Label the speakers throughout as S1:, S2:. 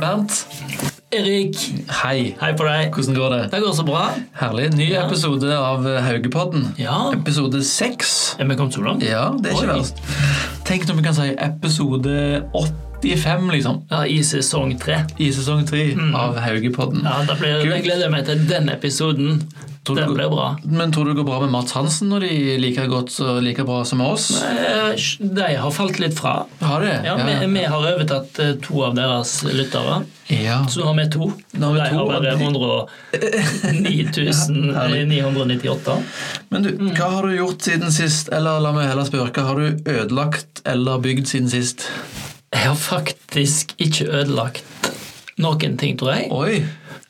S1: Bernt. Erik,
S2: Hei.
S1: hei på deg.
S2: Hvordan går det?
S1: Det går så bra.
S2: Herlig. Ny
S1: Ja.
S2: episode av eh, Haugepodden.
S1: Ja.
S2: Episode seks.
S1: Er vi kommet så langt?
S2: Ja, det er ikke
S1: Oi.
S2: verst. Tenk når vi kan si episode 85, liksom.
S1: Ja, I sesong tre.
S2: I sesong tre av Haugepodden.
S1: Mm. Ja, da blir,
S2: Kult.
S1: jeg gleder jeg meg til denne episoden.
S2: Tror du-
S1: Den blir bra.
S2: Men tror du det går bra med Mats Hansen når de liker godt og like bra som oss?
S1: Eh, De har falt litt fra.
S2: Har det?
S1: Ja,
S2: ja.
S1: vi, vi har overtatt eh, to av deres lyttere.
S2: ja.
S1: Så nå har vi to.
S2: Nå har vi to, og
S1: De har bare 109.998.
S2: Men du,
S1: Mm.
S2: hva har du gjort siden sist? Eller la meg heller spørre, hva har du ødelagt eller bygd siden sist?
S1: Jeg har faktisk ikke ødelagt noen ting, tror jeg.
S2: Oi!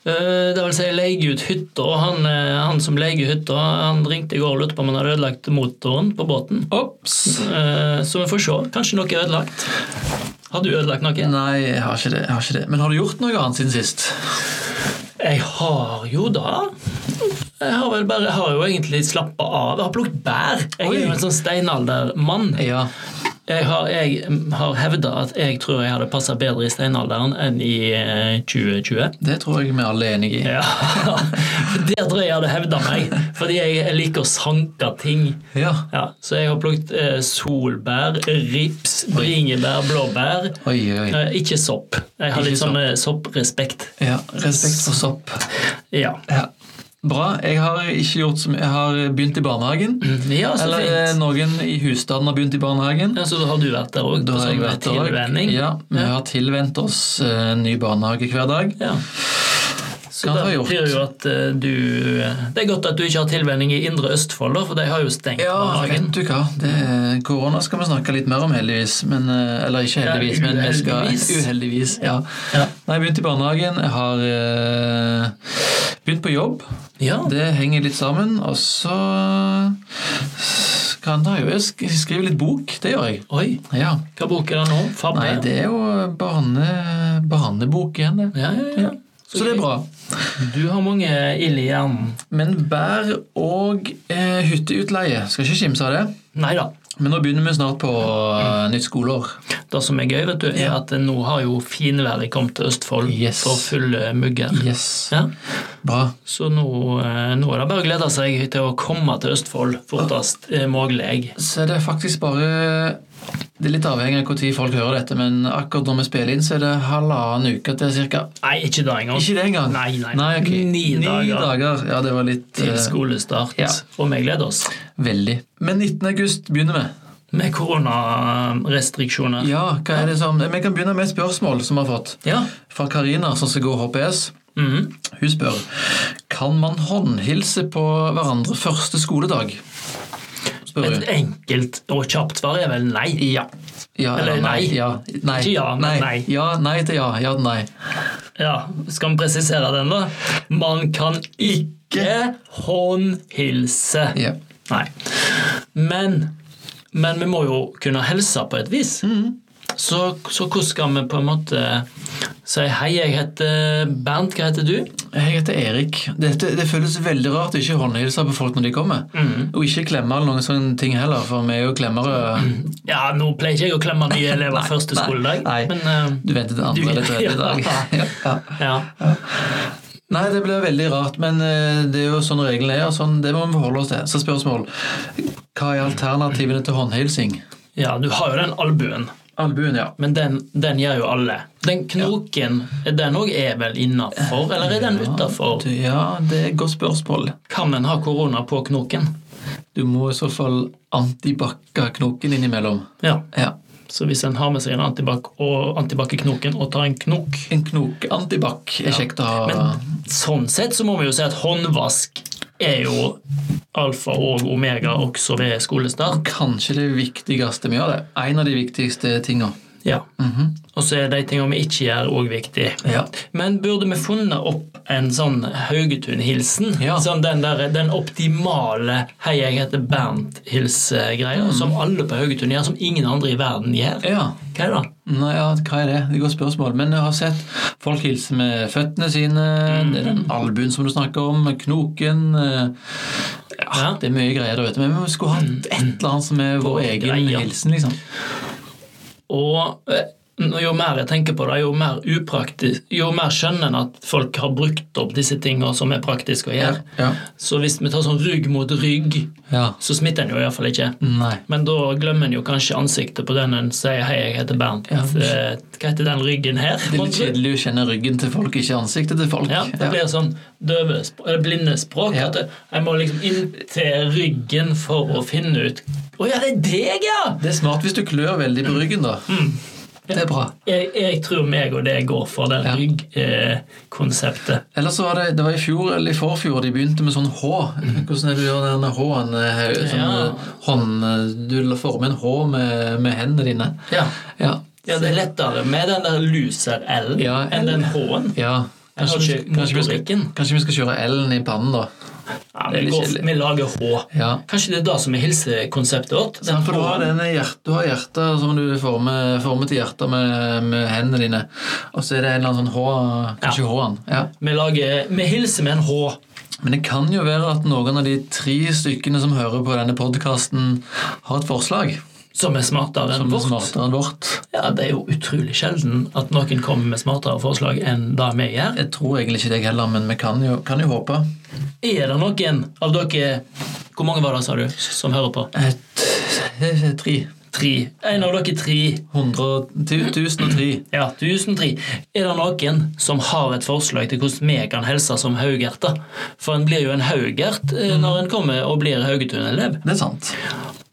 S1: Eh, Det vil si, jeg leier ut hytta, og han, eh, han som leier hytta, han ringte i går og lurte på om han hadde ødelagt motoren på båten.
S2: Ops!
S1: Eh, Så vi får se. Kanskje noe er ødelagt. Har du ødelagt noe?
S2: Nei, jeg har ikke det. Jeg har ikke det. Men har du gjort noe annet siden sist?
S1: Jeg har jo da Jeg har vel bare, jeg har jo egentlig slappa av. Jeg har plukket bær. Jeg er
S2: Oi.
S1: jo en sånn steinaldermann.
S2: Ja.
S1: Jeg har, jeg har hevda at jeg tror jeg hadde passa bedre i steinalderen enn i eh, 2020.
S2: Det tror jeg vi alle er enige i.
S1: Ja, Der tror jeg jeg hadde hevda meg, fordi jeg liker å sanke ting.
S2: Ja.
S1: Ja, så jeg har plukket eh, solbær, rips, bringebær, blåbær.
S2: Oi, oi.
S1: Eh, ikke sopp. Jeg har
S2: Ikke
S1: litt sånn eh, sopprespekt.
S2: Ja, respekt for sopp.
S1: Ja.
S2: Ja. Bra. Jeg har ikke gjort som Jeg har begynt i barnehagen.
S1: Mm. ja, så
S2: Eller eh,
S1: fint.
S2: noen i husstanden har begynt i barnehagen.
S1: Ja, så da har du vært der òg,
S2: Da
S1: på
S2: har jeg
S1: sånn
S2: vært der også.
S1: tilvenning?
S2: Ja, vi
S1: Ja.
S2: har tilvent oss eh, en ny barnehage hver dag.
S1: Ja. Så
S2: Hva
S1: da
S2: har jeg gjort?
S1: betyr jo at eh, du Det er godt at du ikke har tilvenning i Indre Østfold, da, for de har jo stengt
S2: Ja, vet
S1: barnehagen.
S2: du hva. Det er, korona skal vi snakke litt mer om, heldigvis. Men, eh, eller ikke heldigvis, men vi skal
S1: uheldigvis.
S2: Uheldigvis. Ja.
S1: Ja.
S2: Nei, jeg har begynt i barnehagen. Jeg har eh, begynt på jobb.
S1: Ja.
S2: Det henger litt sammen. Og så kan det jo Jeg sk- skriver litt bok. Det gjør jeg.
S1: Oi,
S2: Ja.
S1: hva bok er det nå? Fabbe?
S2: Nei, det er jo barne, barnebok igjen, det.
S1: ja, ja, ja.
S2: Så det er bra.
S1: Du har mange ild i hjernen.
S2: Men bær og eh, hytteutleie. Skal ikke kimse av det.
S1: Nei da.
S2: Men nå begynner vi snart på eh, nytt skoleår.
S1: Det som er gøy, vet du, er at nå har jo finværet kommet til Østfold
S2: Yes.
S1: for fulle mugger.
S2: Yes.
S1: Ja.
S2: Bra.
S1: Så nå, eh, nå er det bare å glede seg til å komme til Østfold fortest eh, mulig.
S2: Så er det faktisk bare Det er litt avhengig av når folk hører dette, men akkurat når vi spiller inn, så er det halvannen uke til cirka.
S1: Nei, ikke det engang.
S2: Ikke det engang.
S1: Nei, nei.
S2: nei ok.
S1: Ni dager.
S2: Ja, det var litt
S1: Til
S2: eh,
S1: skolestart.
S2: ja.
S1: Og vi gleder oss.
S2: Veldig. Men 19. august begynner vi.
S1: Med koronarestriksjoner.
S2: Ja, hva er det som Vi kan begynne med et spørsmål som vi har fått.
S1: Ja.
S2: Fra Karina, som skal gå HPS.
S1: Mhm.
S2: Hun spør Kan man håndhilse på hverandre første skoledag? Spør hun.
S1: Et enkelt og kjapt svar er vel nei.
S2: Ja. ja
S1: Eller nei.
S2: Ja. Nei.
S1: Ikke ja, men nei.
S2: Ja, nei til ja. Ja til nei.
S1: Ja, Skal vi presisere den, da? Man kan ikke håndhilse.
S2: Ja.
S1: Nei. Men, men vi må jo kunne hilse på et vis.
S2: Mm.
S1: Så, så hvordan skal vi på en måte si hei, jeg heter Bernt, hva heter du?
S2: Jeg heter Erik. Dette, det føles veldig rart å ikke håndhilse på folk når de kommer.
S1: Mhm.
S2: Og ikke klemme eller noen sånne ting heller, for vi er jo klemmere.
S1: Ja, nå pleier ikke jeg å klemme nye elever første
S2: nei,
S1: skoledag,
S2: nei.
S1: men eh,
S2: Du venter til
S1: Du-
S2: andre eller tredje dag.
S1: Ja.
S2: Ja, ja.
S1: ja.
S2: Nei, det blir veldig rart, men eh, det er jo sånn reglene er, og sånn, det må vi forholde oss til. Så spørsmål. Hva er alternativene til håndhilsing?
S1: ja, du har jo den albuen,
S2: Albuen, ja.
S1: men den, den gjør jo alle. Den knoken, den òg er vel innafor, eller er den utafor?
S2: Du, ja, det er et godt spørsmål.
S1: Kan en ha korona på knoken?
S2: Du må i så fall antibakke knoken innimellom.
S1: Ja,
S2: Ja.
S1: så hvis en har med seg en antibac og antibac-knoken og tar en knok
S2: En knok-antibakk er kjekt å ha.
S1: Men sånn sett så må vi jo si at håndvask er jo alfa og omega også ved skolestart.
S2: Kanskje det viktigste vi gjør det. En av de viktigste tingene.
S1: Ja. Og så er de tingene vi ikke gjør, òg viktig.
S2: Mhm. Ja.
S1: Men burde vi funnet opp en sånn Haugetun-hilsen?
S2: Ja.
S1: Sånn den, der, den optimale 'hei, jeg heter Bernt'-hils-greia, som alle på Haugetun gjør, som ingen andre i verden gjør.
S2: Mhm. Ja.
S1: Hva er det?
S2: Nei, ja, hva er det? Det er et godt spørsmål. Men jeg har sett folk hilse med føttene sine, det er den albuen som du snakker om, knoken eh,
S1: Ja. Mm.
S2: Det er mye greier der ute. Men vi skulle hatt et eller annet som er vår egen
S1: greie.
S2: hilsen, liksom.
S1: Og eh, Jo mer jeg tenker på det, jo mer upraktisk Jo mer skjønner en at folk har brukt opp disse tingene som er praktiske å gjøre.
S2: Ja.
S1: Så hvis vi tar sånn rygg mot rygg,
S2: ja.
S1: så smitter en jo iallfall ikke.
S2: Nei.
S1: Men da glemmer en jo kanskje ansiktet på den en sier 'hei, jeg heter Bernt'.
S2: Ja.
S1: Eh, Hva heter den ryggen her?
S2: Det er litt kjedelig å kjenne ryggen til folk, ikke ansiktet til folk.
S1: Ja, det blir sånn døve, sp- eller blinde språk.
S2: Ja.
S1: At det- jeg må liksom inn til ryggen for å finne ut Å ja, det er deg, ja!
S2: Det er smart hvis du klør veldig
S1: Mm.
S2: på ryggen, da. Det er bra.
S1: Jeg, jeg tror meg og det går for det eh,
S2: Ja.
S1: ryggkonseptet.
S2: Ellers så var det, det var i fjor eller i forfjor de begynte med sånn H. Hvordan er det du gjør denne H-en? eh, Sånn,
S1: Mm. Ja.
S2: eh, hånd, eh, du former en H med, med hendene dine.
S1: Ja.
S2: Ja.
S1: ja, det er lettere med den der loser-L-en
S2: Ja,
S1: enn den H-en.
S2: Ja.
S1: Jeg
S2: Kanskje,
S1: har
S2: vi skal-
S1: ikke
S2: kanskje, vi skal,
S1: motorikken.
S2: kanskje vi skal kjøre L-en i pannen, da. det
S1: Ja,
S2: er
S1: vi,
S2: litt
S1: går,
S2: kjedelig.
S1: vi lager H.
S2: Ja.
S1: Kanskje det er det som er hilsekonseptet vårt? Den
S2: for du har,
S1: H-en.
S2: denne hjert, du har hjertet som du former, former til hjertet med, med hendene dine. Og så er det en eller annen sånn H, kanskje
S1: Ja.
S2: H-en. Ja.
S1: Vi, lager, vi hilser med en H.
S2: Men det kan jo være at noen av de tre stykkene som hører på denne podkasten, har et forslag
S1: Som er smartere enn
S2: som er
S1: vårt.
S2: smartere enn vårt.
S1: Ja, Det er jo utrolig sjelden at noen kommer med smartere forslag enn det vi gjør.
S2: Jeg tror egentlig ikke deg heller, men vi kan jo, kan jo håpe.
S1: Er det noen av dere Hvor mange var det, sa du, som hører på?
S2: Et, eh, tre.
S1: Tre. En av dere tre.
S2: Hundre og tu- tusen og tre.
S1: Ja, tusen tre. Er det noen som har et forslag til hvordan vi kan helse som haugerter? For en blir jo en haugert eh, når en kommer og blir haugetun-elev.
S2: Det er sant.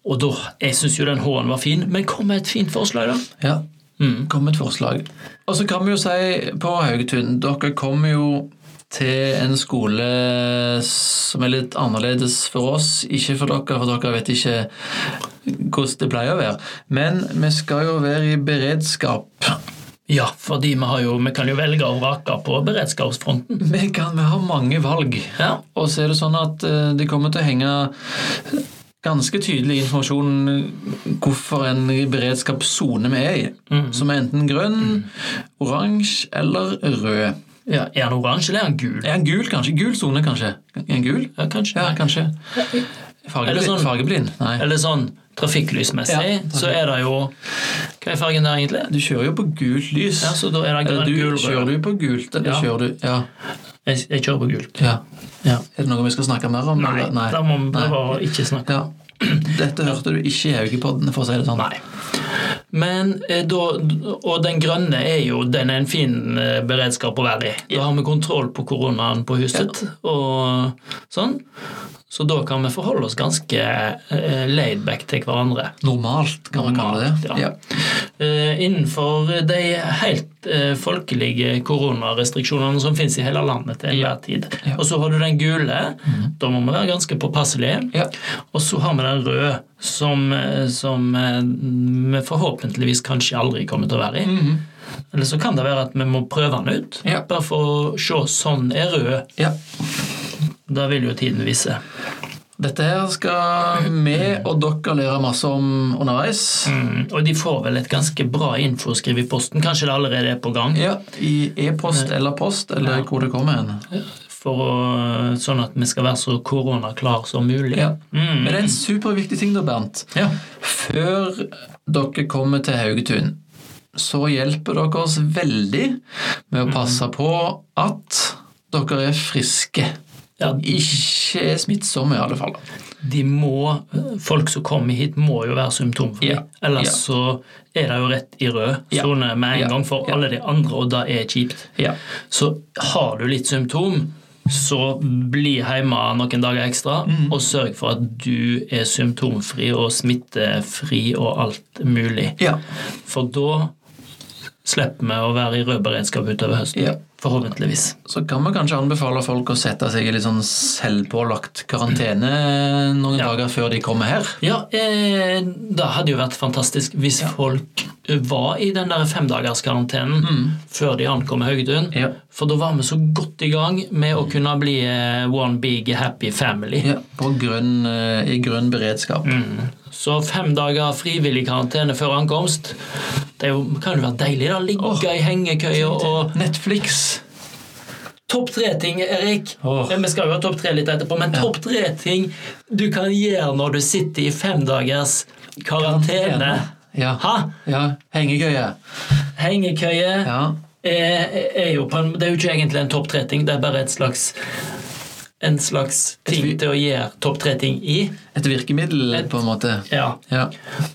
S1: Og da, Jeg syns jo den H-en var fin, men kom med et fint forslag, da.
S2: Ja. Mm, Kom med et forslag. Og så kan vi jo si på Haugetun Dere kommer jo til en skole som er litt annerledes for oss. Ikke for dere, for dere vet ikke hvordan det pleier å være. Men vi skal jo være i beredskap.
S1: Ja, fordi vi, har jo, vi kan jo velge og vrake på beredskapsfronten.
S2: Vi kan vi har mange valg.
S1: Ja,
S2: Og så er det sånn at eh, det kommer til å henge ganske tydelig informasjon hvorfor en beredskapssone vi er i.
S1: Mhm.
S2: Som er enten grønn, oransje eller rød.
S1: ja Er den oransje eller er den gul?
S2: Er en gul, kanskje? Gul sone, kanskje? En gul?
S1: Ja, kanskje.
S2: Ja, kanskje.
S1: Eller
S2: Fargeblind?
S1: sånn-
S2: Fargeblind? Nei.
S1: Eller sånn trafikklysmessig,
S2: Ja,
S1: så er det jo Hva er fargen der, egentlig?
S2: Du kjører jo på gult lys.
S1: Ja, så da er det
S2: Eller
S1: grønn,
S2: du,
S1: gul,
S2: kjører
S1: rød.
S2: du på gult, eller
S1: Ja.
S2: kjører du ja.
S1: Jeg, jeg kjører på gult.
S2: ja.
S1: Ja.
S2: Er det noe vi skal snakke mer om?
S1: Nei,
S2: eller?
S1: da må vi
S2: Nei.
S1: prøve å ikke snakke.
S2: Ja. Dette hørte du ikke i Haugepodden, for å si det sånn.
S1: Nei. Men eh, da, Og den grønne er jo den er en fin eh, beredskap å være i. Da har vi kontroll på koronaen på huset og sånn. Så da kan vi forholde oss ganske eh, laid back til hverandre.
S2: Normalt, kan man kalle det.
S1: Normalt, ja. Eh, Innenfor de helt eh, folkelige koronarestriksjonene som finnes i hele landet til enhver tid.
S2: Ja. Mm.
S1: Og så har du den gule. Da må vi være ganske påpasselige.
S2: Ja.
S1: Og så har vi den røde, som, eh, som eh, vi forhåpentligvis kanskje aldri kommer til å være i. Eller så kan det være at vi må prøve den ut.
S2: Mhm. Ja.
S1: Bare for å se sånn er rød.
S2: Ja.
S1: Da vil jo tiden vise.
S2: Dette her skal vi og dere lære masse om underveis.
S1: Mm.
S2: Mhm.
S1: Og de får vel et ganske bra infoskriv i posten. Kanskje det allerede er på gang.
S2: Ja, I e-post eller post, eller hvor det kommer hen.
S1: for å, sånn at vi skal være så koronaklar som mulig.
S2: Ja.
S1: Mm.
S2: Men det er en superviktig ting, da, Bernt.
S1: Ja.
S2: Før dere kommer til Haugetun, så hjelper dere oss veldig med å
S1: Mhm.
S2: passe på at dere er friske.
S1: Ja,
S2: Ikke er smittsomme, i alle fall.
S1: de må, folk som kommer hit, må jo være symptomfrie.
S2: Ja.
S1: Ellers
S2: Ja.
S1: så er det jo rett i rød
S2: Ja.
S1: sone med en
S2: Ja.
S1: gang for
S2: Ja.
S1: alle de andre, og det er kjipt.
S2: Ja.
S1: Så har du litt symptom, så bli hjemme noen dager ekstra,
S2: Mhm.
S1: og sørg for at du er symptomfri og smittefri og alt mulig.
S2: Ja.
S1: For da slipper vi å være i rød beredskap utover høsten.
S2: Ja.
S1: Forhåpentligvis.
S2: Så kan vi kanskje anbefale folk å sette seg i litt sånn selvpålagt karantene noen
S1: Ja.
S2: dager før de kommer her.
S1: Ja, eh, det hadde jo vært fantastisk hvis folk eh, var i den der femdagerskarantenen før de ankom Haugetun.
S2: Mm. Ja.
S1: For da var vi så godt i gang med å kunne bli eh, one big happy family.
S2: Ja, på grønn, eh, I grønn beredskap.
S1: Mm. Så fem dager frivillig karantene før ankomst, det er jo, kan jo være deilig. da, Ligge i hengekøya og
S2: Netflix.
S1: Topp tre-ting, Erik.
S2: Åh.
S1: Eh, Vi skal jo ha topp tre litt etterpå, men topp tre-ting du kan gjøre når du sitter i femdagers karantene.
S2: Ja.
S1: Hæ?
S2: ja. Hengekøye.
S1: Hengekøye
S2: Ja.
S1: er, Eh, er jo på en, Det er jo ikke egentlig en topp tre-ting, det er bare et slags en slags ting
S2: vi-
S1: til å gjøre topp tre-ting i.
S2: Et virkemiddel,
S1: Et-
S2: på en måte.
S1: Ja.
S2: Ja.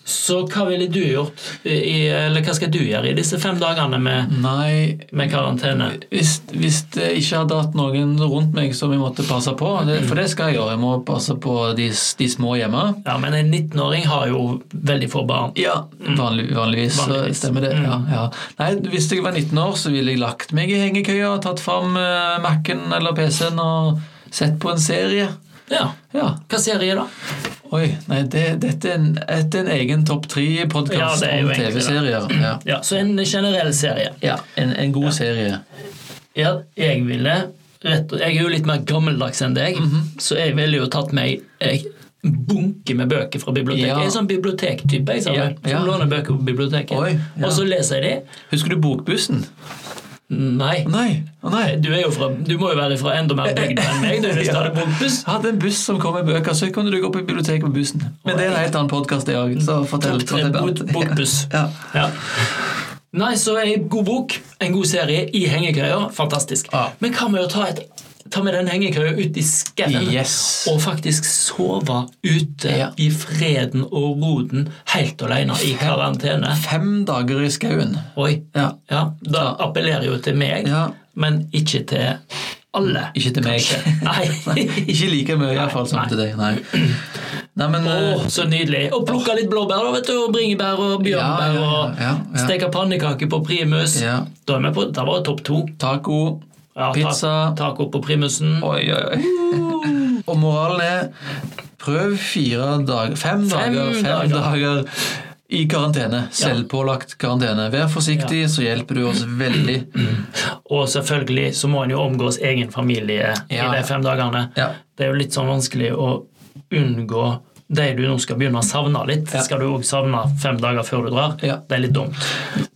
S1: Så hva ville du gjort, i, eller hva skal du gjøre i disse fem dagene med,
S2: Nei,
S1: med karantene?
S2: hvis, hvis jeg ikke hadde hatt noen rundt meg som jeg måtte passe på, det, for det skal jeg gjøre, jeg må passe på de, s- de små hjemme.
S1: Ja, men en 19-åring har jo veldig få barn.
S2: Ja, vanlig, vanligvis,
S1: Vanligvis. Mm.
S2: så stemmer det. Ja, ja. Nei, hvis jeg var 19 år, så ville jeg lagt meg i hengekøya, tatt fram eh, Mac-en eller PC-en og sett på en serie.
S1: Ja.
S2: Ja.
S1: Hva serie, da?
S2: Oi, nei, det, dette, er en, dette er en egen topp
S1: Ja,
S2: tre-podkast
S1: det er jo
S2: om
S1: egentlig det.
S2: TV-serier. Ja.
S1: Ja, Så en generell serie.
S2: Ja, en, en god serie.
S1: Ja, jeg ville rett, og- Jeg er jo litt mer gammeldags enn deg,
S2: Mhm.
S1: så jeg ville jo tatt meg jeg, bunke med bøker fra biblioteket.
S2: Ja.
S1: Jeg er sånn bibliotektype. jeg,
S2: Ja,
S1: sammen,
S2: ja.
S1: Som låner bøker på biblioteket.
S2: Oi, ja.
S1: Og så leser jeg de.
S2: Husker du Bokbussen?
S1: Nei.
S2: Nei. Å nei.
S1: Du, er jo fra, du må jo være fra enda mer bygd enn meg. Du, hvis du
S2: Ja.
S1: hadde bunkbuss.
S2: Jeg hadde en buss som kom med bøker, så kunne du gå på biblioteket på bussen. Men det er en helt annen podkast, det òg. Så fortell.
S1: Topp tre
S2: fortell
S1: bok-
S2: alt.
S1: bokbuss.
S2: Ja.
S1: Ja. Nei, så ei god bok, en god serie i hengekøya, fantastisk.
S2: Ja.
S1: Men hva med å ta, et, ta med den hengekøya ut i skauen?
S2: Yes.
S1: Og faktisk sove ute
S2: Ja.
S1: i freden og roden helt alene i karantene.
S2: Fem dager i skauen.
S1: Oi.
S2: Ja.
S1: Ja, da appellerer jo til meg,
S2: Ja.
S1: men ikke til alle.
S2: Ikke til meg.
S1: kanskje. Nei.
S2: Ikke like mye, iallfall, som
S1: nei.
S2: til deg. Nei. Nei, men
S1: Åh,
S2: eh,
S1: så nydelig. Og plukke litt blåbær, da, vet du. Og bringebær og
S2: Ja, ja,
S1: bjørnebær.
S2: ja, ja,
S1: Og
S2: ja.
S1: steke pannekaker på primus.
S2: Ja.
S1: Da er vi på, da var det topp to.
S2: taco,
S1: Ja, ta-
S2: pizza
S1: Taco på primusen.
S2: Oi, oi, oi. Og moralen er prøv fire dager Fem, dager, fem
S1: dager.
S2: dager. i karantene. Selvpålagt karantene. Vær forsiktig, så hjelper du oss veldig.
S1: Og selvfølgelig så må en jo omgås egen familie
S2: Ja.
S1: i de fem dagene.
S2: Ja.
S1: Det er jo litt sånn vanskelig å unngå de du nå skal begynne å savne litt.
S2: Ja.
S1: Skal du òg savne fem dager før du drar?
S2: Ja.
S1: Det er litt dumt.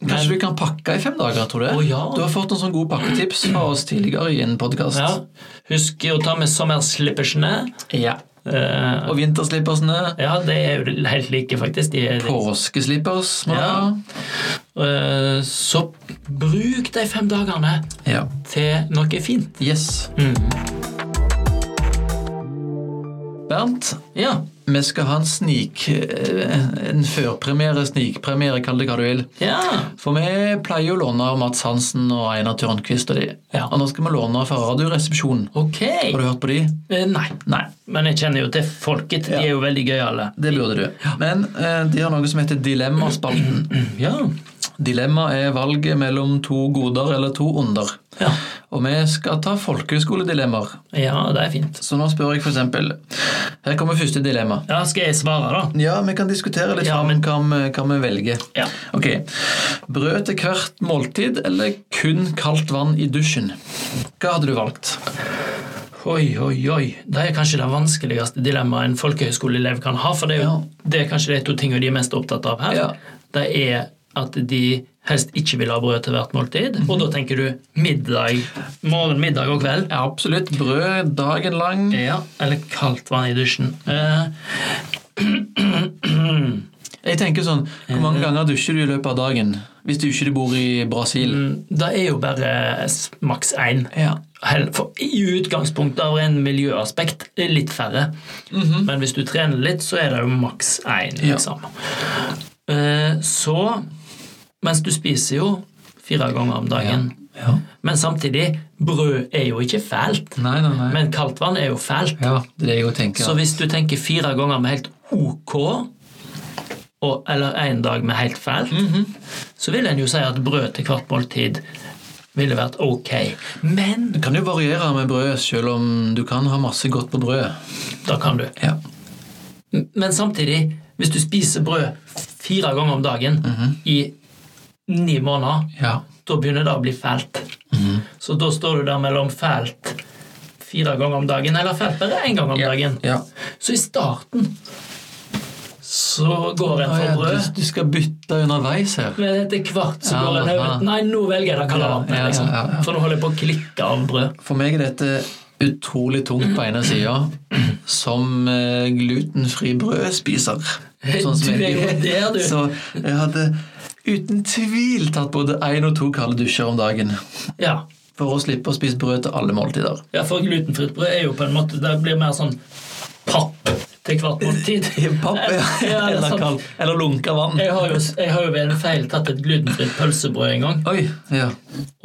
S2: Kanskje vi kan pakke i fem dager, tror du?
S1: Å, ja.
S2: Du har fått noen sånne gode pakketips fra oss tidligere i en podkast.
S1: Ja. Husk å ta med sommerslippersene. Eh,
S2: Og vinterslippersene.
S1: ja, det er jo helt like, faktisk. De er,
S2: Påskeslippers. må du
S1: Ja.
S2: ha.
S1: Eh, så bruk de fem dagene
S2: ja.
S1: til noe fint.
S2: Yes. Bernt,
S1: Ja.
S2: vi skal ha en snik... eh, En førpremiere, snikpremiere, kall det hva du vil.
S1: Ja.
S2: For vi pleier jo å låne Mats Hansen og Einar Tørnquist og de.
S1: Ja.
S2: Og nå skal vi låne fra Radioresepsjonen.
S1: Ok.
S2: Har du hørt på de?
S1: Eh, nei.
S2: Nei.
S1: Men jeg kjenner jo til folket. De
S2: Ja.
S1: er jo veldig gøyale.
S2: Det burde du. Men eh, de har noe som heter Dilemmaspalten.
S1: Ja.
S2: Dilemma er valget mellom to goder eller to onder.
S1: Ja.
S2: Og vi skal ta folkehøyskoledilemmaer.
S1: ja, det er fint.
S2: Så nå spør jeg for eksempel Her kommer første dilemma.
S1: Ja, skal jeg svare, da?
S2: Ja, vi kan diskutere litt
S1: Ja,
S2: fram
S1: men-
S2: hva, vi- hva vi velger.
S1: Ja.
S2: Ok. Brød til hvert måltid eller kun kaldt vann i dusjen? Hva hadde du valgt?
S1: Oi, oi, oi. Det er kanskje det vanskeligste dilemmaet en folkehøyskoleelev kan ha. For det er, jo, det er kanskje de to tingene de er mest opptatt av her.
S2: Ja.
S1: Det er at de helst ikke vil ha brød til hvert måltid. Og da tenker du middag. Morgen, middag og kveld.
S2: Ja, absolutt brød dagen lang.
S1: Ja, Eller kaldt vann i dusjen. Eh,
S2: Jeg tenker sånn, Hvor
S1: Mhm.
S2: mange ganger dusjer du i løpet av dagen? Hvis du ikke bor i
S1: Mm.
S2: Brasil?
S1: det er jo bare s- maks én.
S2: Ja.
S1: Hell- For I utgangspunktet av en miljøaspekt er litt færre. Men hvis du trener litt, så er det jo maks én.
S2: Mhm. Ja.
S1: Liksom. Eh, Så Mens du spiser jo fire ganger om dagen.
S2: Ja.
S1: Men samtidig, brød er jo ikke fælt.
S2: Nei, nei, nei.
S1: Men kaldt vann er jo fælt.
S2: Ja, det er det jeg også tenker.
S1: Så hvis du tenker fire ganger med helt ok, og, eller én dag med helt fælt,
S2: Mhm.
S1: så vil en jo si at brød til hvert måltid ville vært ok. Men
S2: Det kan jo variere med brød, selv om du kan ha masse godt på brødet.
S1: da kan du.
S2: Ja.
S1: Men samtidig, hvis du spiser brød fire ganger om dagen
S2: Mhm.
S1: i ni måneder,
S2: Ja.
S1: da begynner det å bli fælt.
S2: Mhm.
S1: Så da står du der mellom fælt fire ganger om dagen, eller fælt bare én gang om dagen.
S2: ja.
S1: Så i starten så går en
S2: Å, ja,
S1: for brød.
S2: du, du skal bytte underveis her.
S1: Men etter hvert så
S2: Ja,
S1: går en
S2: aha.
S1: over Nei, nå velger jeg det kalde
S2: Ja,
S1: vannet.
S2: ja,
S1: liksom.
S2: ja, ja.
S1: For nå holder jeg på å klikke av brød.
S2: For meg er dette utrolig tungt på ene sida, som eh, glutenfri brødspiser.
S1: Du er jo der, du.
S2: Så jeg hadde uten tvil tatt både én og to kalde dusjer om dagen
S1: Ja.
S2: for å slippe å spise brød til alle måltider.
S1: ja, for glutenfritt brød er jo på en måte Det blir mer sånn papp til hvert måltid.
S2: Papp
S1: Ja, det er
S2: eller,
S1: sant.
S2: kald, eller lunka vann.
S1: Jeg har jo, jeg har jo ved en feil tatt et glutenfritt pølsebrød en gang,
S2: Oi, ja.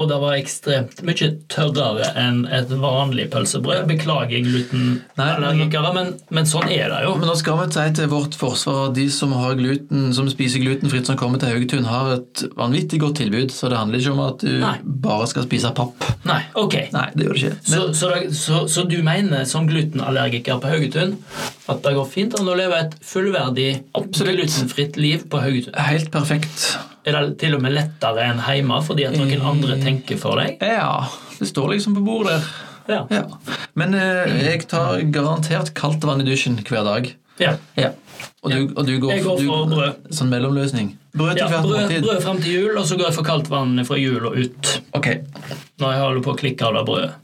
S1: og det var ekstremt mye tørrere enn et vanlig pølsebrød. Beklager
S2: Nei,
S1: glutenallergikere, men, men sånn er det jo.
S2: Men nå skal vi si til vårt forsvar at de som, har gluten, som spiser glutenfritt som kommer til Haugetun, har et vanvittig godt tilbud. Så det handler ikke om at du
S1: Nei.
S2: bare skal spise papp.
S1: Nei, ok.
S2: Nei, det gjør det ikke. Men,
S1: Så, så, det- så, så du mener som glutenallergiker på Haugetun at det går fint an å leve et fullverdig,
S2: Absolutt.
S1: glutenfritt liv på Haugetun?
S2: Helt perfekt.
S1: Er det til og med lettere enn hjemme fordi at noen
S2: Eh.
S1: andre tenker for deg?
S2: Ja, det står liksom på bordet der.
S1: Ja.
S2: Ja. Men eh, jeg tar garantert kaldt vann i dusjen hver dag.
S1: ja.
S2: Ja. Og du, og du går,
S1: Jeg går
S2: du-
S1: for brød.
S2: Sånn mellomløsning. Brød til
S1: Ja,
S2: hvert
S1: brød,
S2: måltid.
S1: brød frem til jul, og så går jeg for kaldt vann fra jul og ut.
S2: Ok,
S1: Når jeg holder på å klikke av det brødet.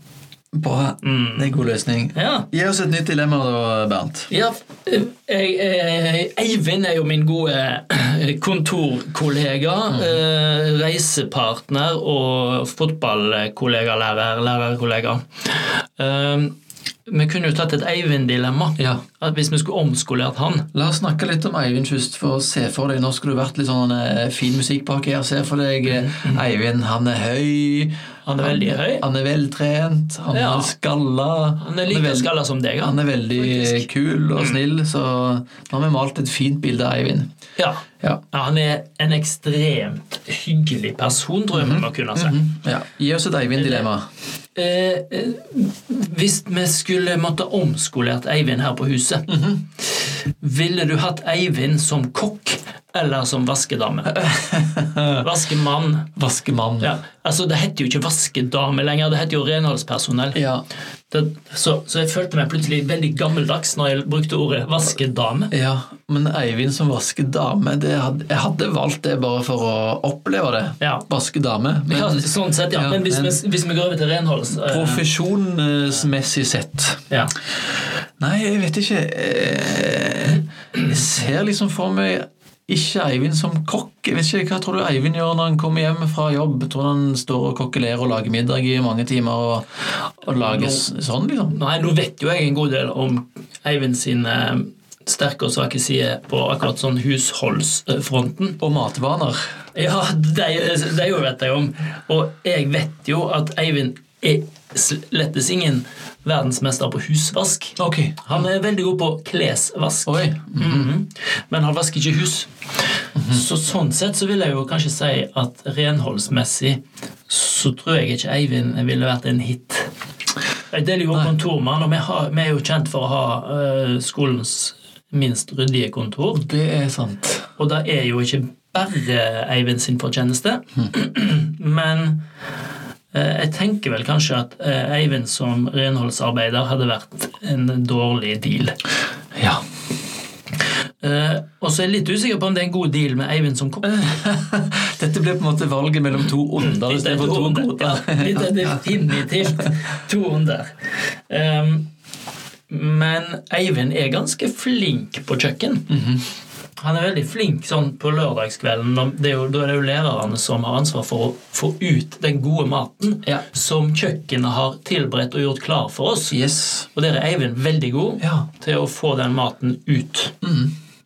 S2: bra. Det er en god løsning.
S1: Mm. Ja.
S2: Gi oss et nytt dilemma da, Bernt.
S1: Ja, jeg, jeg, Eivind er jo min gode eh, kontorkollega,
S2: Mm.
S1: eh, reisepartner og fotballkollega, lærer, lærerkollega. Eh, vi kunne jo tatt et Eivind-dilemma.
S2: Ja.
S1: At Hvis vi skulle omskolert han.
S2: La oss snakke litt om Eivind først, for å se for deg Nå skulle du vært litt sånn eh, fin musikk bak her. Se for deg eh, Eivind. Han er høy.
S1: Mm. Han er veldig høy.
S2: Han er veltrent. Han
S1: Ja.
S2: er skalla.
S1: Han er like
S2: veld-
S1: skalla som deg.
S2: Han er veldig
S1: Faktisk. Mm.
S2: kul og snill, så nå har vi malt et fint bilde av Eivind.
S1: Ja.
S2: Ja.
S1: ja, Han er en ekstremt hyggelig person, tror
S2: Mhm.
S1: jeg vi må kunne si.
S2: ja. Gi oss et Eivind-dilemma.
S1: Eh, eh, hvis vi skulle måtte omskolert Eivind her på huset,
S2: Mhm.
S1: ville du hatt Eivind som kokk eller som vaskedame? Vaskemann.
S2: Vaskemann.
S1: Ja. Altså, det heter jo ikke vaskedame lenger, det heter jo renholdspersonell.
S2: Ja.
S1: Det, så, så jeg følte meg plutselig veldig gammeldags når jeg brukte ordet vaskedame.
S2: Ja, men Eivind som vasker dame det hadde, Jeg hadde valgt det bare for å oppleve det.
S1: Ja.
S2: Vaske dame. Men
S1: Ja, sånn sett, ja.
S2: Ja,
S1: Men hvis,
S2: men-
S1: Vi, hvis vi går over til renholds... eh,
S2: profesjonsmessig sett
S1: ja.
S2: Nei, jeg vet ikke. Eh, Jeg ser liksom for meg ikke Eivind som kokk. Jeg vet ikke, Hva tror du Eivind gjør når han kommer hjem fra jobb? Tror du han står og kokkelerer og lager middag i mange timer og, og lager s- sånn, liksom?
S1: Nei, nå vet jo jeg en god del om Eivind sine eh, sterke og svake sider på akkurat sånn husholdsfronten.
S2: Og matvaner.
S1: Ja, det det jo vet jeg om. Og jeg vet jo at Eivind er slettes ingen verdensmester på husvask.
S2: Ok.
S1: Han er veldig god på klesvask,
S2: Oi.
S1: Mhm. men han vasker ikke hus. Så sånn sett så vil jeg jo kanskje si at renholdsmessig så tror jeg ikke Eivind ville vært en hit. Jeg deler jo kontormann, og vi, har, vi er jo kjent for å ha eh, skolens minst ryddige kontor.
S2: Det er sant.
S1: Og det er jo ikke bare Eivind sin fortjeneste, men eh, jeg tenker vel kanskje at eh, Eivind som renholdsarbeider hadde vært en dårlig deal.
S2: Ja.
S1: Eh, og så er jeg litt usikker på om det er en god deal med Eivind som kokk.
S2: Dette ble på en måte valget mellom to onder
S1: Litt
S2: istedenfor to
S1: under.
S2: goder.
S1: Ja, litt er definitivt to under. Um, men Eivind er ganske flink på kjøkken. Han er veldig flink sånn på lørdagskvelden. og Det er jo, da er det jo lærerne som har ansvar for å få ut den gode maten
S2: Ja.
S1: som kjøkkenet har tilberedt og gjort klar for oss.
S2: Yes.
S1: Og der er Eivind veldig god
S2: Ja. Mm.
S1: til å få den maten ut.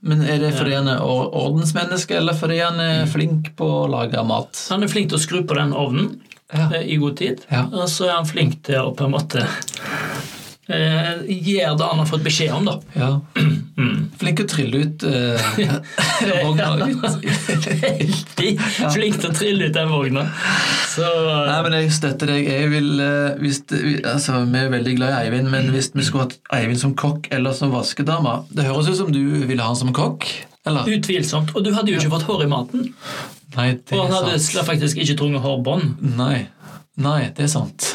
S2: Men er det fordi han er or- ordensmenneske, eller fordi han er flink på å lage mat?
S1: Han er flink til å skru på den ovnen
S2: Ja.
S1: eh, i god tid.
S2: Ja.
S1: Og så er han flink til å på en måte eh, gjøre det han har fått beskjed om, da.
S2: Ja. Flink til å trille ut eh, vogna ut.
S1: Veldig flink til å trille ut den vogna. Så
S2: Nei, men jeg støtter deg. Jeg vil, eh, hvis det, vi- altså, vi er veldig glad i Eivind, men hvis vi skulle hatt Eivind som kokk eller som vaskedame Det høres ut som du ville ha han som kokk, eller?
S1: utvilsomt. Og du hadde jo ikke fått hår i maten.
S2: Nei, det
S1: Og han
S2: er
S1: hadde
S2: sant.
S1: faktisk ikke trunget hårbånd.
S2: Nei. Nei, det er sant.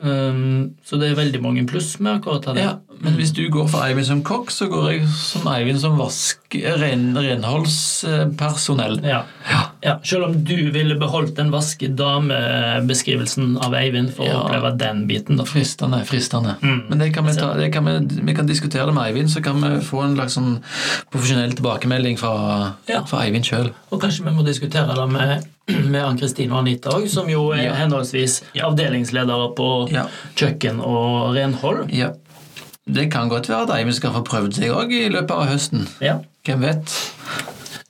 S1: Um, så det er veldig mange pluss med akkurat det.
S2: Ja, men hvis du går for Eivind som kokk, så går jeg som Eivind som vask, eh, ren, renholdspersonell.
S1: Ja.
S2: Ja.
S1: Ja, selv om du ville beholdt den vaskedamebeskrivelsen av Eivind for
S2: Ja.
S1: å oppleve den biten. da.
S2: Fristende, fristende.
S1: Mm.
S2: Men det kan vi, ta, det kan vi, vi kan diskutere det med Eivind, så kan vi få en slags sånn profesjonell tilbakemelding fra,
S1: Ja.
S2: fra Eivind sjøl.
S1: Og kanskje vi må diskutere det med, med Ann-Kristin og Anita òg, som jo er
S2: Ja.
S1: henholdsvis avdelingsledere på
S2: Ja.
S1: kjøkken og renhold.
S2: Ja. Det kan godt være at Eivind skal få prøvd seg òg i løpet av høsten.
S1: Ja.
S2: Hvem vet?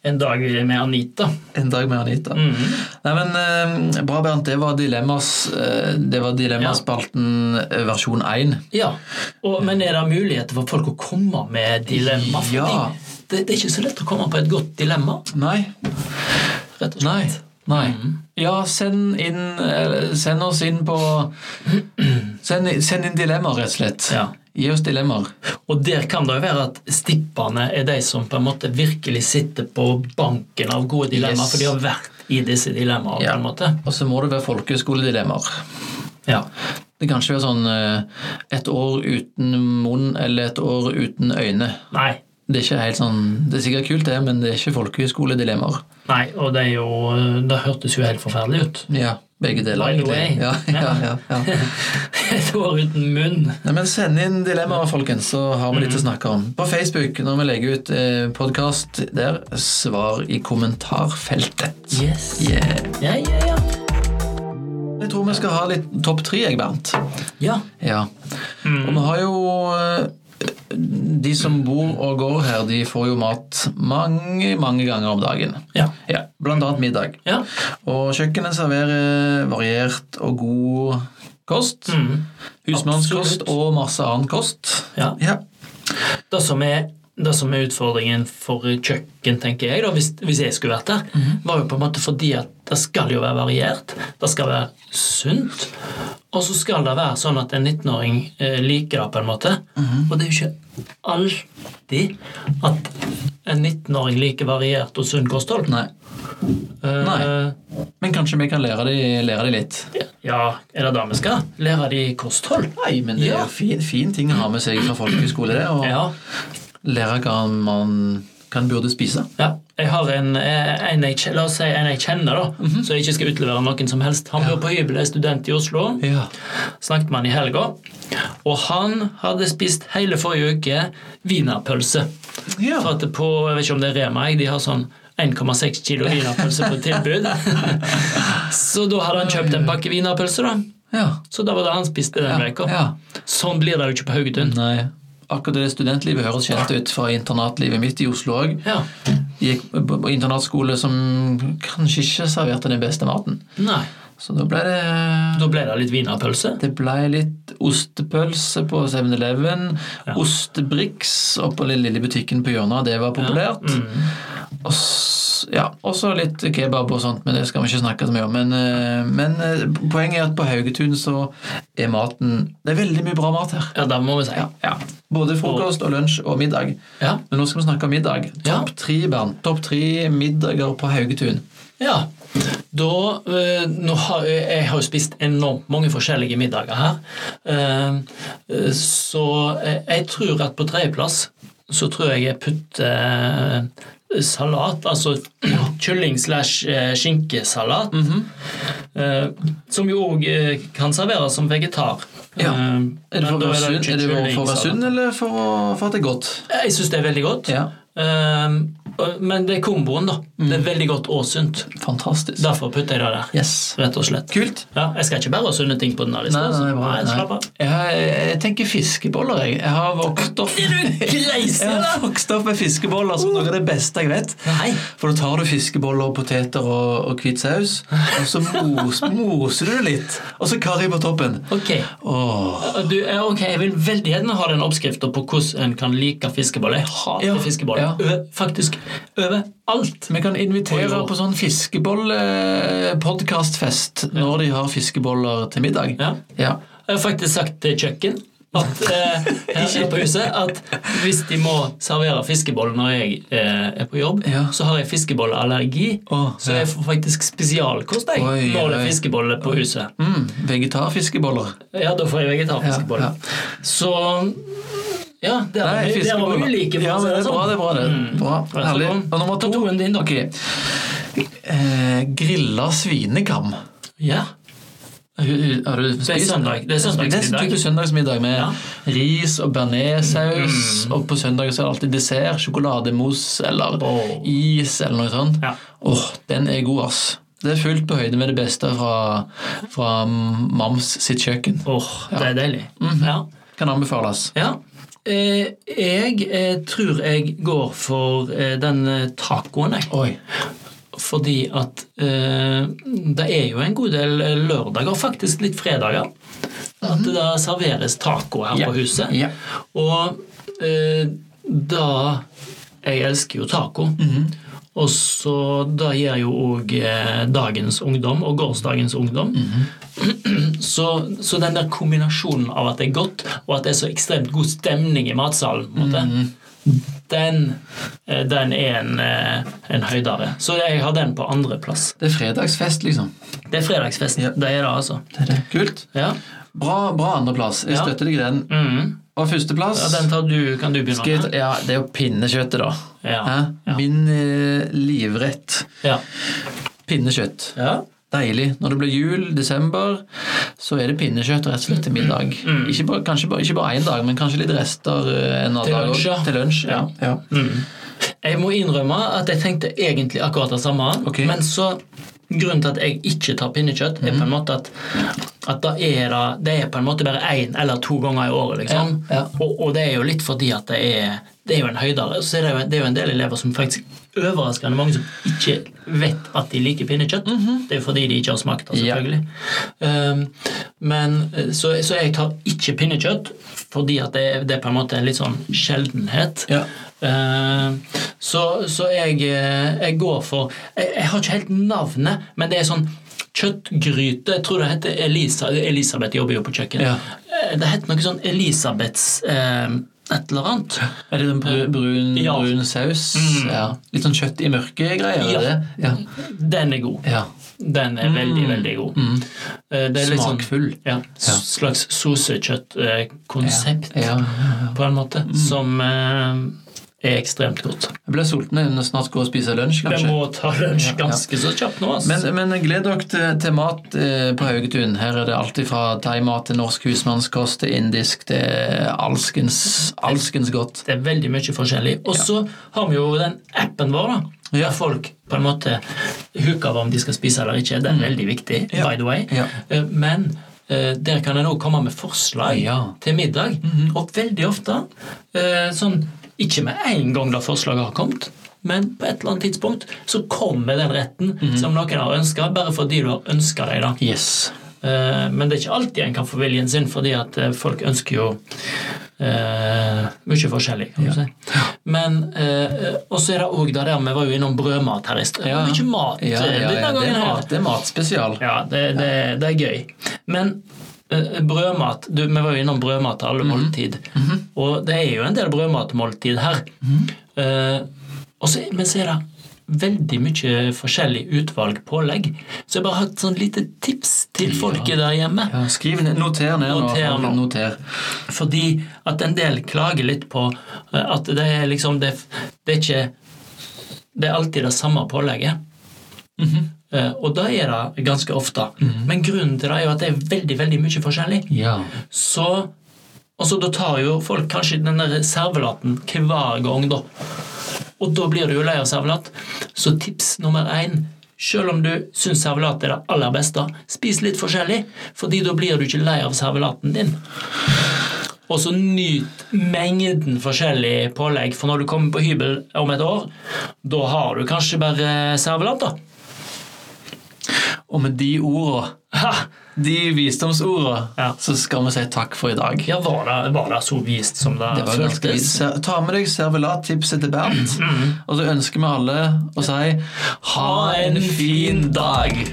S1: En dag med Anita.
S2: En dag med Anita.
S1: Mhm.
S2: Nei, men eh, Bra, Bernt. Det var Dilemmas, eh, det var Dilemmaspalten eh, versjon 1.
S1: Ja. Og, men er det muligheter for folk å komme med dilemma? Fordi
S2: Ja.
S1: Det, det er ikke så lett å komme på et godt dilemma.
S2: Nei.
S1: rett og slett.
S2: Nei. Nei. Ja, send inn eh, Send oss inn på Send, send inn dilemmaer, rett og slett.
S1: Ja.
S2: Gi oss dilemmaer.
S1: Og der kan det jo være at stipperne er de som på en måte virkelig sitter på banken av gode dilemmaer,
S2: Yes.
S1: for de har vært i disse dilemmaene.
S2: Ja.
S1: på en måte.
S2: Og så må det være folkeskoledilemmaer.
S1: Ja.
S2: Det kan ikke være sånn eh, et år uten munn eller et år uten øyne.
S1: Nei.
S2: Det er ikke helt sånn, det er sikkert kult, det, men det er ikke folkehøyskoledilemmaer.
S1: Nei, og det er jo eh, Det hørtes jo helt forferdelig ut.
S2: Ja, begge deler.
S1: By the
S2: egentlig.
S1: way.
S2: Ja, ja, ja, ja.
S1: Et år uten munn.
S2: Nei, men Send inn dilemmaer, folkens, så har vi litt
S1: Mhm.
S2: å snakke om. På Facebook, når vi legger ut eh, podkast der, svar i kommentarfeltet.
S1: Yes.
S2: Yeah.
S1: Ja, ja, ja.
S2: Jeg tror vi skal ha litt topp tre, jeg, Bernt.
S1: Ja.
S2: Ja.
S1: Mm.
S2: Og vi har jo eh, De som bor og går her, de får jo mat mange, mange ganger om dagen.
S1: Ja.
S2: Ja, Blant annet middag.
S1: ja.
S2: Og kjøkkenet serverer variert og god kost.
S1: Mm.
S2: Husmannskost
S1: Absolutt.
S2: og masse annen kost.
S1: Ja. Det som er det som er utfordringen for kjøkken, tenker jeg, da, hvis, hvis jeg skulle vært der,
S2: Mhm.
S1: var jo på en måte fordi at det skal jo være variert, det skal være sunt, og så skal det være sånn at en 19-åring eh, liker det, på en måte.
S2: Mhm.
S1: Og det er jo ikke alltid at en 19-åring liker variert og sunt kosthold.
S2: Nei.
S1: Eh,
S2: Nei. Men kanskje vi kan lære de, lære de litt?
S1: Ja, er det det vi skal? Lære de kosthold?
S2: Nei, men det er
S1: Ja.
S2: jo fin, fin ting å ha med seg fra folkehøyskole, det. Og
S1: Ja.
S2: lære hva man kan burde spise.
S1: Ja, jeg har en, eh, en jeg, kje- la oss si en jeg kjenner, da,
S2: Mhm.
S1: så jeg ikke skal utlevere noen som helst. Han bor på hybel, er student i Oslo.
S2: Ja.
S1: Snakket med han i helga. Og han hadde spist hele forrige uke wienerpølse.
S2: Ja.
S1: For at det på, jeg vet ikke om det er Rema, jeg, de har sånn 1,6 kilo wienerpølse på tilbud. så da hadde han kjøpt en pakke wienerpølse, da.
S2: ja.
S1: Så da var det han spiste den veka.
S2: ja.
S1: Sånn blir det jo ikke på Haugetun.
S2: Nei. Akkurat det studentlivet høres kjent ut fra internatlivet mitt i Oslo òg.
S1: Ja.
S2: Gikk på internatskole som kanskje ikke serverte den beste maten.
S1: Nei.
S2: Så da ble det
S1: Da ble det litt wienerpølse.
S2: Det ble litt ostepølse på 7-Eleven.
S1: Ja.
S2: Ostebrix oppå den lille butikken på hjørnet, det var populært.
S1: Mm.
S2: Og s- ja, også litt kebab og sånt, men det skal vi ikke snakke så mye om. Men, eh, men eh, poenget er at på Haugetun så er maten Det er veldig mye bra mat her.
S1: Ja, det må vi si.
S2: Ja, ja. Både frokost og lunsj og middag.
S1: Ja.
S2: Men nå skal vi snakke om middag.
S1: Ja.
S2: Topp tre, Bernt. Topp tre middager på Haugetun.
S1: Ja. Da eh, nå har, jeg jeg har jo spist enormt mange forskjellige middager her. Eh, eh, så jeg, jeg tror at på tredjeplass så tror jeg jeg putter eh, salat, altså kylling slash eh, skinkesalat.
S2: Mhm.
S1: eh, som jo òg eh, kan serveres som vegetar.
S2: Ja.
S1: Eh,
S2: Er det for
S1: men
S2: å
S1: da
S2: være sunn-
S1: ikke
S2: er det for å være
S1: kyllingsalat.
S2: sunn, eller for, å- for at det er godt?
S1: Jeg syns det er veldig godt.
S2: Ja,
S1: Eh, men det er komboen, da. Det
S2: Mm.
S1: er veldig godt og sunt.
S2: Fantastisk.
S1: Derfor putter jeg det der.
S2: Yes.
S1: Rett og slett.
S2: Kult.
S1: Ja, jeg skal ikke bare ha sunne ting på denne lista.
S2: Nei, nei,
S1: altså.
S2: nei, bra, nei.
S1: slapp av.
S2: Jeg, har- jeg tenker fiskeboller, jeg. Jeg har vokst opp
S1: Er du greis,
S2: Jeg har
S1: eller?
S2: vokst opp med fiskeboller som noe av det beste jeg vet.
S1: Nei.
S2: For da tar du fiskeboller og poteter og, og hvit saus, og så mos, moser du det litt. Og så karri på toppen.
S1: Ok.
S2: Åh.
S1: Du, ja, ok, Jeg vil veldig gjerne ha den oppskriften på hvordan en kan like fiskeboller. Jeg hater
S2: Ja,
S1: fiskeboller.
S2: ja.
S1: Over- Faktisk overalt.
S2: Vi kan invitere
S1: Oi, oi.
S2: på sånn eh, fiskebollepodkastfest når de har fiskeboller til middag.
S1: Ja.
S2: Ja.
S1: Jeg har faktisk sagt til kjøkken at, eh, her her på huset at hvis de må servere fiskeboller når jeg eh, er på jobb,
S2: Ja.
S1: så har jeg fiskebolleallergi.
S2: Å,
S1: Så
S2: ja.
S1: jeg får faktisk spesialkost jeg,
S2: Oi,
S1: når det
S2: oi.
S1: er fiskeboller på huset.
S2: Mm, vegetarfiskeboller.
S1: Ja, da får jeg
S2: Ja,
S1: vegetarfiskeboller.
S2: ja.
S1: Så ja, der var vi- der var vi ulike. for
S2: Ja,
S1: å si
S2: men det er bra, det er bra. det.
S1: Mm.
S2: Bra,
S1: Ja, så
S2: Herlig.
S1: kom-
S2: Og nummer to.
S1: kom toen din, da.
S2: Ok. Eh, grilla svinekam.
S1: Ja.
S2: Har du- har du spist?
S1: Det er søndag. Det er søndagsmiddag.
S2: Det er typisk søndagsmiddag med
S1: Ja. Mm.
S2: ris og bearnéssaus. Og på søndag så er det alltid dessert. Sjokolademousse eller
S1: Åh.
S2: is eller noe sånt.
S1: Ja.
S2: Åh, den er god, ass. Det er fullt på høyde med det beste fra, fra mams sitt kjøkken.
S1: Åh, det er deilig.
S2: Mhm.
S1: Ja.
S2: Kan anbefales.
S1: ja. Eh, jeg eh, tror jeg går for eh, den eh, tacoen, jeg.
S2: Oi.
S1: Fordi at eh, det er jo en god del eh, lørdager, faktisk litt fredager, at det da serveres taco her
S2: Mhm. Ja.
S1: på huset.
S2: Ja.
S1: Og eh, da Jeg elsker jo taco.
S2: Mhm.
S1: Og så da gjør jo òg eh, dagens ungdom og gårsdagens ungdom.
S2: Mhm.
S1: så, så den der kombinasjonen av at det er godt, og at det er så ekstremt god stemning i matsalen, på en måte,
S2: Mhm.
S1: den, eh, den er en, eh, en høydare. Så jeg har den på andreplass.
S2: Det er fredagsfest, liksom.
S1: Det er fredagsfest. Det er det, altså.
S2: Kult.
S1: Ja.
S2: Bra, bra andreplass. Jeg
S1: Ja.
S2: støtter deg i den.
S1: Mhm.
S2: Og førsteplass
S1: ja den tar du, kan du begynne
S2: Skal jeg ta-
S1: med.
S2: Ja, det er jo pinnekjøttet, da.
S1: Ja.
S2: Hæ?
S1: Ja.
S2: Min eh, livrett.
S1: Ja.
S2: Pinnekjøtt.
S1: Ja.
S2: Deilig. Når det blir jul, desember, så er det pinnekjøtt rett og slett til middag.
S1: Mm,
S2: Ikke, bare, kanskje, bare, ikke bare én dag, men kanskje litt rester eh, en annen
S1: Til
S2: dag.
S1: lunsj, ja. Mm.
S2: Til lunsj, ja. ja.
S1: Jeg må innrømme at jeg tenkte egentlig akkurat det samme.
S2: Ok.
S1: Men så Grunnen til at jeg ikke tar pinnekjøtt, er
S2: Mhm.
S1: på en måte at, at da er det, det er på en måte bare én eller to ganger i året. liksom.
S2: Ja, ja.
S1: Og, og det er jo litt fordi at det er, det er jo en høydere. Så er det, jo, det er jo en del elever som faktisk overraskende mange som ikke vet at de liker pinnekjøtt. Det er jo fordi de ikke har smakt det,
S2: Mhm. Ja.
S1: selvfølgelig. Um, men, eh, så, så jeg tar ikke pinnekjøtt fordi at det, er- det er på en måte en litt sånn sjeldenhet.
S2: Ja.
S1: Eh, så, så jeg, eh, jeg går for jeg, jeg har ikke helt navnet, men det er sånn kjøttgryte. Jeg tror det heter Elisa, Elisabeth jobber jo på kjøkkenet.
S2: Ja.
S1: Eh, Det heter noe sånn Elisabeths eh, et eller annet.
S2: Er det den bru- brun,
S1: Ja. Mm.
S2: brun saus? Ja. Litt sånn kjøtt i mørke-greier?
S1: Ja.
S2: er det? Ja.
S1: Den er god.
S2: ja.
S1: Den er veldig, veldig god. Eh, Det er litt sånn
S2: Mm. Smakfull.
S1: ja, slags sosekjøttkonsept,
S2: Ja. ja.
S1: på en måte, som eh, er ekstremt godt.
S2: Jeg ble sulten. Jeg må snart gå og spise lunsj,
S1: Jeg
S2: kanskje.
S1: må ta lunsj ganske så kjapt nå. ass.
S2: Men, men gled dere til, til mat eh, på Haugetun. Her er det alltid fra thaimat til norsk husmannskost til indisk til alskens, alskens godt.
S1: Det er veldig mye forskjellig. Og så har vi jo den appen vår, da.
S2: Ja.
S1: Der folk på en måte hooker om de skal spise eller ikke. Det er veldig viktig,
S2: Ja.
S1: by the way.
S2: Ja.
S1: Eh, Men eh, der kan en òg komme med forslag
S2: Ja.
S1: til middag. Og veldig ofte eh, sånn Ikke med en gang da forslaget har kommet, men på et eller annet tidspunkt så kommer den retten som noen har ønska, bare fordi du har ønska deg, da.
S2: Yes.
S1: Eh, Men det er ikke alltid en kan få viljen sin, fordi at eh, folk ønsker jo eh, mye forskjellig. kan du si. Men, eh, Og så er det òg det der vi var jo innom brødmat her i sted.
S2: Ja.
S1: Mye mat
S2: Ja, ja,
S1: eh,
S2: ja,
S1: denne
S2: Det,
S1: gangen
S2: er
S1: her.
S2: mat, det er matspesial.
S1: Ja, det, det, det er gøy. Men eh, brødmat du, Vi var jo innom brødmat til alle måltid. Og det er jo en del brødmatmåltid her. Eh, og så, men så er det veldig mye forskjellig utvalg pålegg. Så jeg bare har et sånn lite tips til folket der hjemme.
S2: Ja, skriv ned, noter ned nå.
S1: Noter nå.
S2: Noter.
S1: Fordi at en del klager litt på eh, at det er liksom Det, det er ikke Det er alltid det samme pålegget. Eh, Og da er det ganske ofte. Men grunnen til det er jo at det er veldig veldig mye forskjellig.
S2: Ja.
S1: Så og så Da tar jo folk kanskje den der servelaten hver gang, da. Og da blir du jo lei av servelat. Så tips nummer én selv om du syns servelat er det aller beste, spis litt forskjellig, fordi da blir du ikke lei av servelaten din. Og så nyt mengden forskjellig pålegg, for når du kommer på hybel om et år, da har du kanskje bare servelat, da.
S2: Og med de orda,
S1: Ha!
S2: de visdomsorda,
S1: Ja.
S2: så skal vi si takk for i dag.
S1: Ja, var det, var det så vist som det,
S2: Det var ganske vidt.
S1: føltes?
S2: Se- Ta med deg servelattipset til
S1: Mm.
S2: Bernt, og så ønsker vi alle å si ha en fin dag!